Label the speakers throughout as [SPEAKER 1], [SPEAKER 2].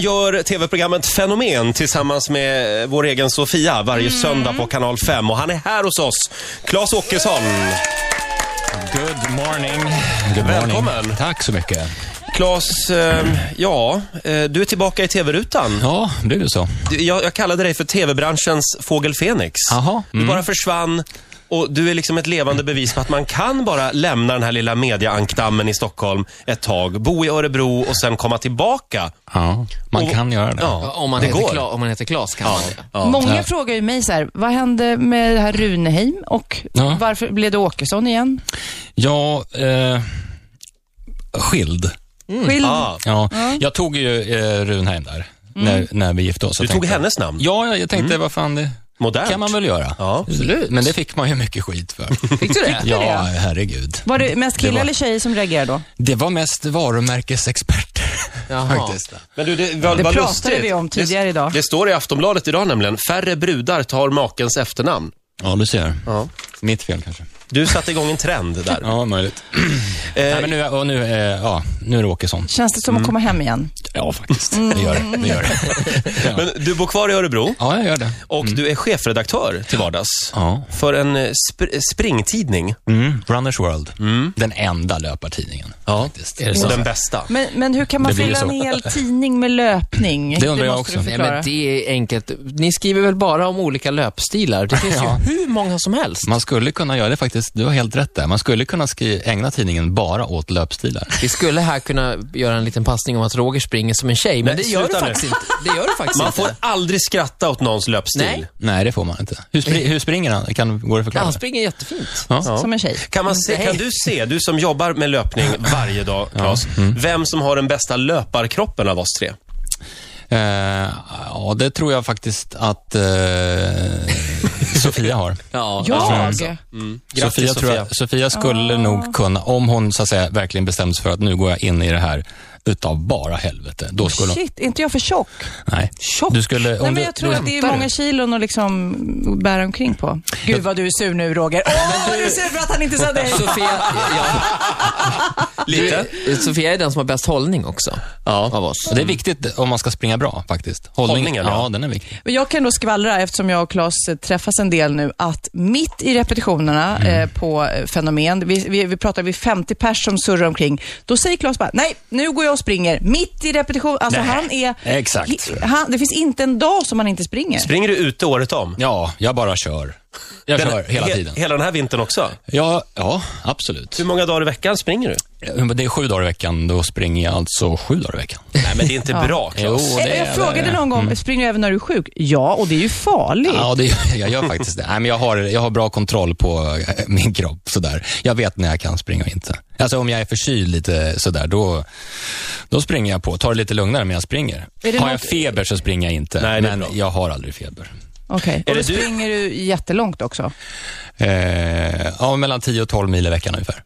[SPEAKER 1] gör tv-programmet Fenomen tillsammans med vår egen Sofia varje söndag på Kanal 5. Och han är här hos oss, Claes Åkesson.
[SPEAKER 2] Good morning.
[SPEAKER 1] Välkommen.
[SPEAKER 2] Tack så mycket.
[SPEAKER 1] Claes, eh, ja, eh, du är tillbaka i tv-rutan.
[SPEAKER 2] Ja, det är du så.
[SPEAKER 1] Du, Jag, jag kallade dig för tv-branschens fågel Fenix.
[SPEAKER 2] Jaha. Mm.
[SPEAKER 1] Du bara försvann. Och du är liksom ett levande bevis på att man kan bara lämna den här lilla mediaankdammen i Stockholm ett tag, bo i Örebro och sen komma tillbaka.
[SPEAKER 2] Ja, man
[SPEAKER 1] Och-
[SPEAKER 2] kan göra det.
[SPEAKER 3] Ja, Om man,
[SPEAKER 1] det
[SPEAKER 3] heter
[SPEAKER 1] går.
[SPEAKER 3] Kla, om man heter Klas kan man det.
[SPEAKER 4] Många frågar ju mig så här, vad hände med det här Runeheim och
[SPEAKER 2] Ja.
[SPEAKER 4] varför blev det Åkesson igen?
[SPEAKER 2] Ja, eh, skild.
[SPEAKER 4] Skild?
[SPEAKER 1] Ah,
[SPEAKER 2] Mm. Ja, jag tog ju eh, Runheim där
[SPEAKER 3] Mm.
[SPEAKER 2] när, när vi gifte oss.
[SPEAKER 1] du
[SPEAKER 2] Jag
[SPEAKER 1] tog
[SPEAKER 2] tänkte-
[SPEAKER 1] hennes namn.
[SPEAKER 2] Ja, jag jag tänkte, vad fan, det
[SPEAKER 1] Modernt.
[SPEAKER 2] kan man väl göra.
[SPEAKER 1] Ja.
[SPEAKER 3] Absolut.
[SPEAKER 2] Men det fick man ju mycket skit för.
[SPEAKER 3] Fick du det?
[SPEAKER 2] ja,
[SPEAKER 4] det?
[SPEAKER 2] herregud.
[SPEAKER 4] Var det mest killar
[SPEAKER 2] Det var-
[SPEAKER 4] eller tjejer som reagerade då?
[SPEAKER 2] Det var mest varumärkesexperter.
[SPEAKER 3] Jaha.
[SPEAKER 2] Faktiskt.
[SPEAKER 1] Men du, det, vad,
[SPEAKER 4] Det
[SPEAKER 1] vad
[SPEAKER 4] pratade
[SPEAKER 1] lustigt.
[SPEAKER 4] vi om tidigare
[SPEAKER 1] det,
[SPEAKER 4] idag.
[SPEAKER 1] Det står i Aftonbladet idag nämligen, färre brudar tar makens efternamn.
[SPEAKER 2] Ja, du ser.
[SPEAKER 1] Ja.
[SPEAKER 2] Mitt fel kanske.
[SPEAKER 1] Du satte igång en trend där.
[SPEAKER 2] Ja, möjligt. Nej, men nu, och nu, eh, ja, nu är det Åkesson.
[SPEAKER 4] Känns det som
[SPEAKER 2] Mm.
[SPEAKER 4] att komma hem igen?
[SPEAKER 2] Ja, faktiskt.
[SPEAKER 3] Mm.
[SPEAKER 2] Det gör det. det, gör det. Ja.
[SPEAKER 1] Men du bor kvar i Örebro
[SPEAKER 2] ja, jag gör det.
[SPEAKER 1] och du är chefredaktör till vardags.
[SPEAKER 2] Mm. Ja.
[SPEAKER 1] För en eh, sp- springtidning.
[SPEAKER 2] Mm. Runners World. Den enda löpartidningen.
[SPEAKER 1] Ja.
[SPEAKER 2] Faktiskt. Mm. Är det,
[SPEAKER 1] Och
[SPEAKER 2] så?
[SPEAKER 1] den bästa.
[SPEAKER 4] Men, men hur kan man
[SPEAKER 2] Det blir ju
[SPEAKER 4] fylla en
[SPEAKER 2] så.
[SPEAKER 4] hel tidning med löpning?
[SPEAKER 2] Det undrar jag
[SPEAKER 4] måste
[SPEAKER 2] också.
[SPEAKER 4] Du
[SPEAKER 2] Nej,
[SPEAKER 3] Nej,
[SPEAKER 4] förklara.
[SPEAKER 3] men det är enkelt. Ni skriver väl bara om olika löpstilar? Det finns
[SPEAKER 2] Ja.
[SPEAKER 3] ju hur många som helst.
[SPEAKER 2] Man skulle kunna göra det faktiskt. Du har helt rätt där. Man skulle kunna skri- ägna tidningen bara åt löpstilar.
[SPEAKER 3] Vi skulle här kunna göra en liten passning om att Roger springer som en tjej, men
[SPEAKER 1] Nej,
[SPEAKER 3] det gör du
[SPEAKER 1] sluta nu.
[SPEAKER 3] faktiskt inte. Det gör du faktiskt
[SPEAKER 1] Man
[SPEAKER 3] inte.
[SPEAKER 1] får aldrig skratta åt någons löpstil.
[SPEAKER 3] Nej.
[SPEAKER 2] Nej, det får man inte. Hur, spri- hur springer han? Kan, går det att
[SPEAKER 3] Ja,
[SPEAKER 2] förklara?
[SPEAKER 3] han springer jättefint.
[SPEAKER 2] Ja.
[SPEAKER 4] Som en tjej.
[SPEAKER 1] Kan, man se,
[SPEAKER 3] Nej.
[SPEAKER 1] kan du se, du som jobbar med löpning varje dag, Claes,
[SPEAKER 2] Mm.
[SPEAKER 1] vem som har den bästa löparkroppen av oss tre?
[SPEAKER 2] Eh, ja, det tror jag faktiskt att eh, Sofia har.
[SPEAKER 3] Ja.
[SPEAKER 4] Jag?
[SPEAKER 1] Grattis,
[SPEAKER 2] Sofia, tror jag, Sofia skulle nog kunna, om hon så att säga, verkligen bestämde sig för att nu går jag in i det här utav bara helvete. Då skulle hon,
[SPEAKER 4] Shit, är inte jag för tjock?
[SPEAKER 2] nej.
[SPEAKER 4] Tjock?
[SPEAKER 2] Du skulle, om
[SPEAKER 4] Nej,
[SPEAKER 2] du,
[SPEAKER 4] men jag tror
[SPEAKER 2] du,
[SPEAKER 4] att det är
[SPEAKER 3] Skämtar du?
[SPEAKER 4] många kilon att liksom bära omkring på. Gud vad du är sur nu Roger. Åh, vad du är sur för att han inte sa dig.
[SPEAKER 3] Sofia, ja,
[SPEAKER 1] Lite?
[SPEAKER 3] du, Sofia är den som har bäst hållning också, av oss.
[SPEAKER 2] Och det är viktigt om man ska springa bra faktiskt. Hållning,
[SPEAKER 1] Hållningen, ja.
[SPEAKER 2] ja. den är viktig.
[SPEAKER 4] Men Jag kan då skvallra, eftersom jag och Claes eh, träffas en del nu, att mitt i repetitionerna
[SPEAKER 2] Mm.
[SPEAKER 4] eh, på eh, Fenomen, vi, vi, vi pratar vid 50 pers som surrar omkring, då säger Claes bara, nej, nu går jag och springer. Mitt i repetition, alltså
[SPEAKER 2] Nej,
[SPEAKER 4] han är...
[SPEAKER 2] exakt.
[SPEAKER 4] hi- Han, det finns inte en dag som han inte springer.
[SPEAKER 1] Springer du ute året om?
[SPEAKER 2] Ja, jag bara kör. Jag kör hela
[SPEAKER 1] he-
[SPEAKER 2] tiden.
[SPEAKER 1] Hela den här vintern också?
[SPEAKER 2] Ja, ja, absolut. Eh,
[SPEAKER 1] Hur många dagar i veckan springer du?
[SPEAKER 2] Det är sju dagar i veckan, då springer jag alltså sju dagar i veckan.
[SPEAKER 1] Nej, men det är inte bra, Claes.
[SPEAKER 2] Jo,
[SPEAKER 4] Eh,
[SPEAKER 2] det är- Mm.
[SPEAKER 4] jag frågade någon gång, springer du även när du är sjuk? Ja, och det är ju farligt.
[SPEAKER 2] Ja, det, jag gör faktiskt det. Nej, men jag, har, jag har bra kontroll på eh, min kropp. Sådär. Jag vet när jag kan springa och inte. Alltså om jag är förkyld lite sådär, då, då springer jag på. Tar det lite lugnare, men jag springer.
[SPEAKER 4] Är det
[SPEAKER 2] Har jag
[SPEAKER 4] något-
[SPEAKER 2] feber så springer jag inte,
[SPEAKER 1] Nej, det är
[SPEAKER 2] men
[SPEAKER 1] bra.
[SPEAKER 2] jag har aldrig feber.
[SPEAKER 4] Okej,
[SPEAKER 1] Är
[SPEAKER 4] och då
[SPEAKER 1] det du-
[SPEAKER 4] springer du jättelångt också.
[SPEAKER 2] Eh, ja, mellan 10 och 12 mil i veckan ungefär.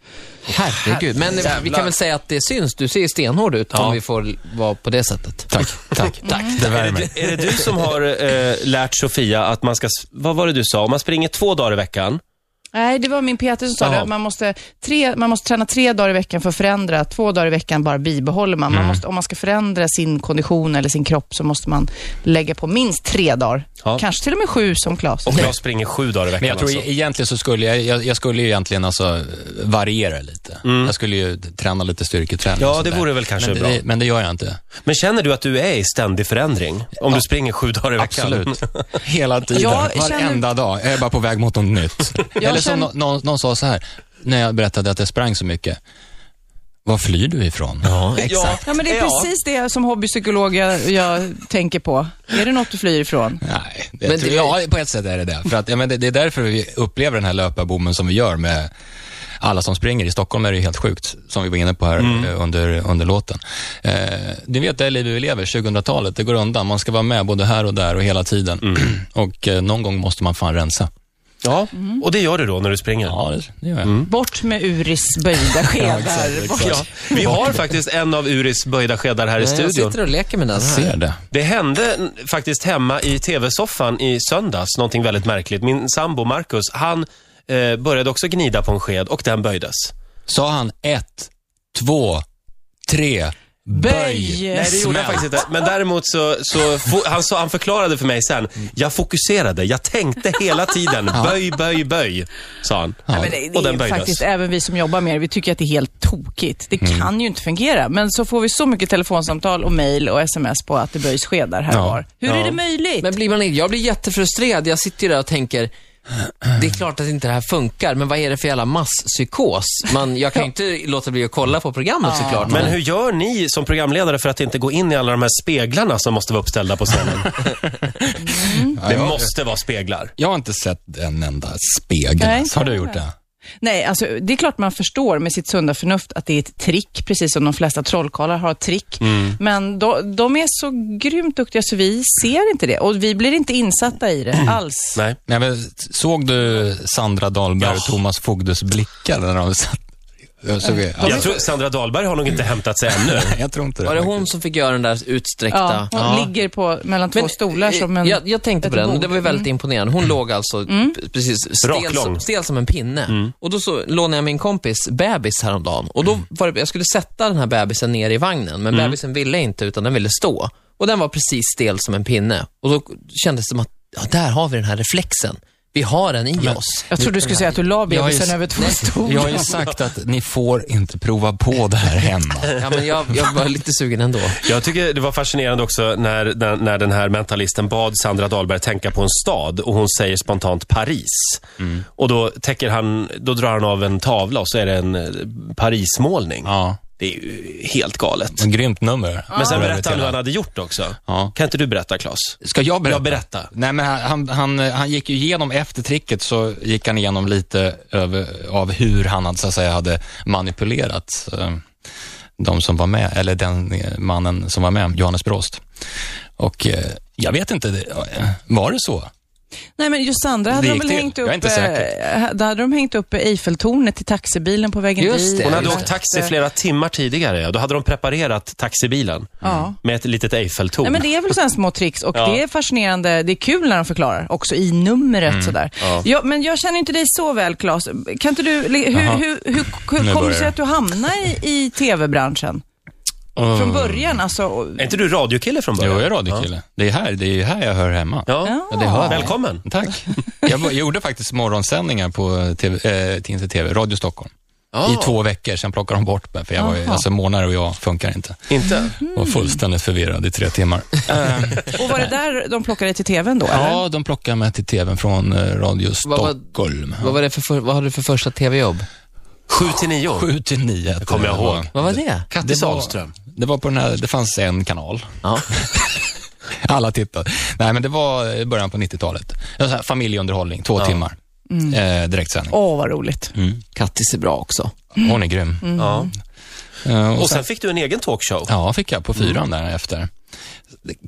[SPEAKER 3] Herregud. Men vi kan väl säga att det syns. Du ser stenhård ut, om vi får vara på det sättet.
[SPEAKER 2] Tack, tack, tack. Det värmer.
[SPEAKER 1] Är det du som har eh, lärt Sofia att man ska, s- vad var det du sa, om man springer två dagar i veckan?
[SPEAKER 4] Nej, det var min PT som sa
[SPEAKER 1] Jaha.
[SPEAKER 4] det. att Man måste, tre, man måste träna tre dagar i veckan för att förändra. Två dagar i veckan bara bibehåller man.
[SPEAKER 1] Mm.
[SPEAKER 4] man måste, om man ska förändra sin kondition eller sin kropp så måste man lägga på minst tre dagar.
[SPEAKER 1] Ja.
[SPEAKER 4] Kanske till och med sju som Claes.
[SPEAKER 1] Och jag springer sju dagar i veckan
[SPEAKER 2] Men jag tror
[SPEAKER 1] alltså.
[SPEAKER 2] egentligen så skulle jag, jag, jag skulle ju egentligen alltså variera lite. Jag skulle ju träna lite styrketräning
[SPEAKER 1] Ja,
[SPEAKER 2] och sådär.
[SPEAKER 1] det vore väl kanske
[SPEAKER 2] men det,
[SPEAKER 1] bra.
[SPEAKER 2] Men det gör jag inte.
[SPEAKER 1] Men känner du att du är i ständig förändring? Om du springer sju dagar i veckan?
[SPEAKER 2] Absolut. Hela tiden.
[SPEAKER 4] Jag känner-
[SPEAKER 2] Varenda dag. Jag är bara på väg mot något nytt. Eller som
[SPEAKER 4] känner-
[SPEAKER 2] nå- någon, någon sa så här, när jag berättade att jag sprang så mycket. Var flyr du ifrån? Ja,
[SPEAKER 1] Ja,
[SPEAKER 4] Ja, men det är
[SPEAKER 1] Ja.
[SPEAKER 4] precis det som hobbypsykolog jag, jag tänker på. Är det något du flyr ifrån?
[SPEAKER 2] Nej, det
[SPEAKER 3] Men
[SPEAKER 2] tror
[SPEAKER 3] det-
[SPEAKER 2] jag, ja, på ett sätt är det det. För att, ja, men det, det är därför vi upplever den här löparboomen som vi gör med alla som springer. I Stockholm är det ju helt sjukt, som vi var inne på här eh, under, under låten. Eh, du vet det liv vi lever, 2000-talet, det går undan. Man ska vara med både här och där och hela tiden. och eh, någon gång måste man fan rensa.
[SPEAKER 1] Ja, och det gör du då när du springer?
[SPEAKER 2] Mm. Ja, det, det gör jag.
[SPEAKER 4] Bort med Uris böjda skedar. Bort-
[SPEAKER 1] Ja, vi har faktiskt en av Uris böjda skedar här i
[SPEAKER 3] Jag
[SPEAKER 1] studion.
[SPEAKER 3] sitter och leker med den här.
[SPEAKER 2] Ser det.
[SPEAKER 1] Det hände n- faktiskt hemma i tv-soffan i söndags, någonting väldigt märkligt. Min sambo Marcus, han eh, började också gnida på en sked och den böjdes.
[SPEAKER 2] Sa han ett, två, tre,
[SPEAKER 4] Böj!
[SPEAKER 1] Nej, det gjorde jag faktiskt inte. Men däremot så, så fo- han, så han förklarade för mig sen. Jag fokuserade, jag tänkte hela tiden. Böj, böj, böj, sa han.
[SPEAKER 4] Nej, men det,
[SPEAKER 1] Och
[SPEAKER 4] det
[SPEAKER 1] den
[SPEAKER 4] är
[SPEAKER 1] böjdes.
[SPEAKER 4] faktiskt även vi som jobbar med det, vi tycker att det är helt tokigt. Det
[SPEAKER 1] Mm.
[SPEAKER 4] kan ju inte fungera. Men så får vi så mycket telefonsamtal och mejl och sms på att det böjs skedar här och
[SPEAKER 2] Ja.
[SPEAKER 4] var. Hur är
[SPEAKER 1] Ja.
[SPEAKER 4] det möjligt?
[SPEAKER 3] Men blir man, jag blir jättefrustrerad. Jag sitter ju där och tänker, det är klart att inte det här funkar, men vad är det för jävla masspsykos? Man, jag kan ju inte låta bli att kolla på programmet såklart.
[SPEAKER 1] Men hur gör ni som programledare för att inte gå in i alla de här speglarna som måste vara uppställda på scenen? Det måste vara speglar.
[SPEAKER 2] Jag har inte sett en enda spegel.
[SPEAKER 4] Nej,
[SPEAKER 2] ens. har du gjort det?
[SPEAKER 4] Nej, alltså, det är klart man förstår med sitt sunda förnuft att det är ett trick, precis som de flesta trollkarlar har ett trick.
[SPEAKER 1] Mm.
[SPEAKER 4] Men då, de är så grymt duktiga så vi ser inte det och vi blir inte insatta i det alls.
[SPEAKER 1] Mm. Nej.
[SPEAKER 2] Nej, men såg du Sandra Dahlberg och Thomas Fogdes blickar när de satt? Jag, såg, ja,
[SPEAKER 1] Jag tror Sandra Dahlberg har nog inte hämtat sig ännu.
[SPEAKER 2] jag tror inte det.
[SPEAKER 3] Var det
[SPEAKER 2] faktiskt.
[SPEAKER 3] hon som fick göra den där
[SPEAKER 4] Ja,
[SPEAKER 3] utsträckta...
[SPEAKER 4] hon ligger på, mellan två
[SPEAKER 3] Men,
[SPEAKER 4] stolar
[SPEAKER 3] eh,
[SPEAKER 4] som en...
[SPEAKER 3] jag, jag tänkte på
[SPEAKER 4] ett
[SPEAKER 3] den, och
[SPEAKER 4] bord. Mm.
[SPEAKER 3] det var ju väldigt imponerande. Hon låg alltså p- precis stel
[SPEAKER 1] Raklång. Mm.
[SPEAKER 3] som, stel som en pinne. Och då så lånade jag min kompis bebis häromdagen. Och då var det, jag skulle sätta den här bebisen ner i vagnen, men
[SPEAKER 1] Mm.
[SPEAKER 3] bebisen ville inte, utan den ville stå. Och den var precis stel som en pinne. Och då kändes det som att, ja, där har vi den här reflexen. Vi har den i oss.
[SPEAKER 4] Jag trodde du skulle säga att du la
[SPEAKER 2] Jag har ju-
[SPEAKER 4] bebisen över två stolar.
[SPEAKER 2] Jag har ju sagt att ni får inte prova på det här hemma.
[SPEAKER 3] Ja, men jag, jag var lite sugen ändå.
[SPEAKER 1] Jag tycker det var fascinerande också när, när, när den här mentalisten bad Sandra Dahlberg tänka på en stad och hon säger spontant Paris. Och då, täcker han, då drar han av en tavla och så är det en eh, Parismålning.
[SPEAKER 2] Ja,
[SPEAKER 1] Det är ju helt galet.
[SPEAKER 2] ett grymt nummer.
[SPEAKER 1] Men sen berättar han hur han hade gjort också.
[SPEAKER 2] Ja.
[SPEAKER 1] Kan inte du berätta, Claes?
[SPEAKER 2] Ska jag berätta?
[SPEAKER 1] Ja, berätta.
[SPEAKER 2] Nej, men han, han, han, han gick ju igenom, efter tricket så gick han igenom lite över, av hur han hade, så att säga, hade manipulerat eh, de som var med, eller den eh, mannen som var med, Johannes Brost. Och eh, jag vet inte, det- eh, var det så?
[SPEAKER 4] Nej, men just Sandra hade
[SPEAKER 2] Det
[SPEAKER 4] de
[SPEAKER 2] gick
[SPEAKER 4] väl
[SPEAKER 2] till.
[SPEAKER 4] hängt
[SPEAKER 2] Jag är
[SPEAKER 4] upp...
[SPEAKER 2] inte säker.
[SPEAKER 4] eh, Då hade de hängt upp Eiffeltornet i taxibilen på vägen
[SPEAKER 3] Just
[SPEAKER 4] dit.
[SPEAKER 3] det.
[SPEAKER 1] Hon hade
[SPEAKER 3] just
[SPEAKER 1] åkt taxi flera timmar tidigare. ja. Då hade de preparerat taxibilen
[SPEAKER 2] Mm.
[SPEAKER 4] Ja.
[SPEAKER 1] med ett litet Eiffeltorn.
[SPEAKER 4] Nej, men det är väl sådana små tricks och
[SPEAKER 1] Ja.
[SPEAKER 4] det är fascinerande. Det är kul när de förklarar, också i numret
[SPEAKER 2] Mm.
[SPEAKER 4] sådär. Ja. men jag känner inte dig så väl, Claes. Kan inte du, li- hur,
[SPEAKER 2] Jaha.
[SPEAKER 4] hur, hur, hur
[SPEAKER 2] Nu
[SPEAKER 4] kom det
[SPEAKER 2] börjar
[SPEAKER 4] sig
[SPEAKER 2] det.
[SPEAKER 4] att du hamnade i, i tv-branschen? Från
[SPEAKER 2] Oh.
[SPEAKER 4] början alltså? och-
[SPEAKER 1] Är inte du radiokille från
[SPEAKER 2] Jo,
[SPEAKER 1] början?
[SPEAKER 2] jag är radiokille. Det är här, det är ju här jag hör hemma.
[SPEAKER 1] Ja.
[SPEAKER 2] Ja, det hör jag.
[SPEAKER 1] Välkommen.
[SPEAKER 2] Tack. Jag var- gjorde faktiskt morgonsändningar på TV, eh, inte TV, Radio Stockholm. I två veckor, sen plockade de bort mig, för jag var ju, alltså månader och jag funkar inte.
[SPEAKER 1] Inte?
[SPEAKER 2] Var fullständigt förvirrad i tre timmar.
[SPEAKER 4] Och var det där de plockade dig till tvn då? eller?
[SPEAKER 2] ja, de plockade mig till TVn från eh, Radio
[SPEAKER 3] Vad var-
[SPEAKER 2] Stockholm.
[SPEAKER 3] Vad, var det för, för, vad hade du för första tv-jobb?
[SPEAKER 1] 7 till 9.
[SPEAKER 2] 7 till 9. Det
[SPEAKER 1] kommer jag
[SPEAKER 2] var.
[SPEAKER 1] ihåg.
[SPEAKER 3] Vad var det?
[SPEAKER 1] Kattis
[SPEAKER 2] var-
[SPEAKER 1] Ahlström.
[SPEAKER 2] Det var på den här, det fanns en kanal.
[SPEAKER 3] Ja.
[SPEAKER 2] Alla tittade. Nej, men det var i början på 90-talet. En sån här familjeunderhållning, två timmar. Eh, direktsändning.
[SPEAKER 4] Åh, vad roligt.
[SPEAKER 2] Mm.
[SPEAKER 3] Kattis är bra också.
[SPEAKER 2] Hon är grym.
[SPEAKER 1] Ja.
[SPEAKER 2] Eh, och
[SPEAKER 1] Mm. Och
[SPEAKER 2] sen,
[SPEAKER 1] sen fick du en egen talkshow.
[SPEAKER 2] ja, fick jag på fyran där efter.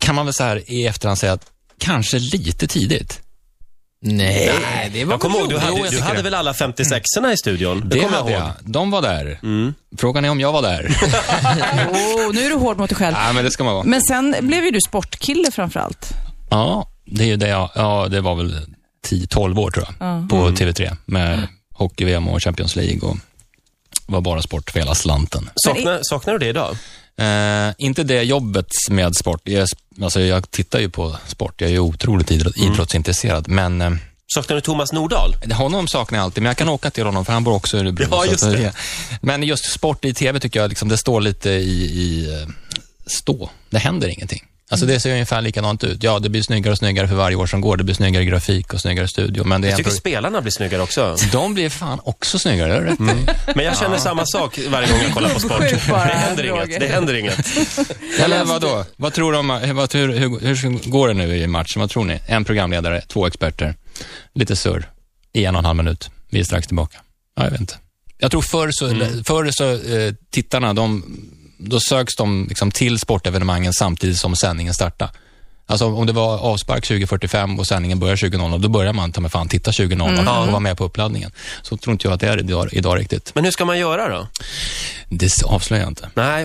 [SPEAKER 2] Kan man väl så här i efterhand säga att kanske lite tidigt.
[SPEAKER 3] Nej, det var
[SPEAKER 1] Jag kommer ihåg, du
[SPEAKER 3] Jo,
[SPEAKER 1] hade,
[SPEAKER 3] jag
[SPEAKER 1] du
[SPEAKER 3] tycker
[SPEAKER 1] hade
[SPEAKER 3] det.
[SPEAKER 1] väl alla 56orna i studion?
[SPEAKER 2] Det
[SPEAKER 1] kommer
[SPEAKER 2] hade jag. De var där. Frågan är om jag var där.
[SPEAKER 4] Åh, nu är du hård mot dig själv.
[SPEAKER 2] Nej, men det ska man vara.
[SPEAKER 4] Men sen blev ju du sportkille framförallt.
[SPEAKER 2] Ja, det är ju det jag, ja, det var väl 10-12 år tror jag, på TV3 med hockey-VM och Champions League och var bara sport för hela slanten.
[SPEAKER 1] Saknar, saknar du det idag?
[SPEAKER 2] Eh, inte det jobbet med sport. Jag, är sp- alltså, jag tittar ju på sport. Jag är ju otroligt idrott, idrottsintresserad, men eh,
[SPEAKER 1] Saknar du Thomas Nordahl?
[SPEAKER 2] honom saknar jag alltid, men jag kan åka till honom för han bor också i Örebro.
[SPEAKER 1] Ja,
[SPEAKER 2] så
[SPEAKER 1] just
[SPEAKER 2] att
[SPEAKER 1] det.
[SPEAKER 2] Men just sport i TV tycker jag, liksom, det står lite i, i eh, stå. Det händer ingenting. Alltså
[SPEAKER 1] Mm.
[SPEAKER 2] det ser ungefär likadant ut. Ja, det blir snyggare och snyggare för varje år som går. Det blir snyggare grafik och snyggare studio. Men det är
[SPEAKER 1] Jag
[SPEAKER 2] en
[SPEAKER 1] tycker
[SPEAKER 2] pro-
[SPEAKER 1] spelarna blir snyggare också.
[SPEAKER 2] de blir fan också snyggare, det är
[SPEAKER 1] Mm.
[SPEAKER 2] rätt.
[SPEAKER 1] Men jag känner samma sak varje gång jag kollar på sport.
[SPEAKER 4] Sjuk bara,
[SPEAKER 1] Det händer
[SPEAKER 4] Roger.
[SPEAKER 1] inget. Det händer inget.
[SPEAKER 2] Eller vadå? Vad tror du om, vad, hur, hur, hur går det nu i matchen? Vad tror ni? En programledare, två experter, lite surr i en och en halv minut. Vi är strax tillbaka. Ja, jag vet inte. Jag tror förr så, förr så eh, tittarna, de, då söks de liksom till sportevenemangen samtidigt som sändningen startar. Alltså om det var avspark 20.45 och sändningen börjar 20.00, då börjar man ta mig fan titta 20.00 och vara med på uppladdningen. Så tror inte jag att det är idag, idag riktigt.
[SPEAKER 1] Men hur ska man göra då?
[SPEAKER 2] Det avslöjar jag inte.
[SPEAKER 1] Nej,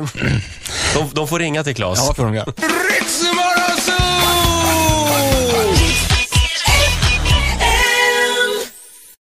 [SPEAKER 1] de, de får ringa till Claes.
[SPEAKER 2] får de göra.
[SPEAKER 5] Ritzmorgonzoo!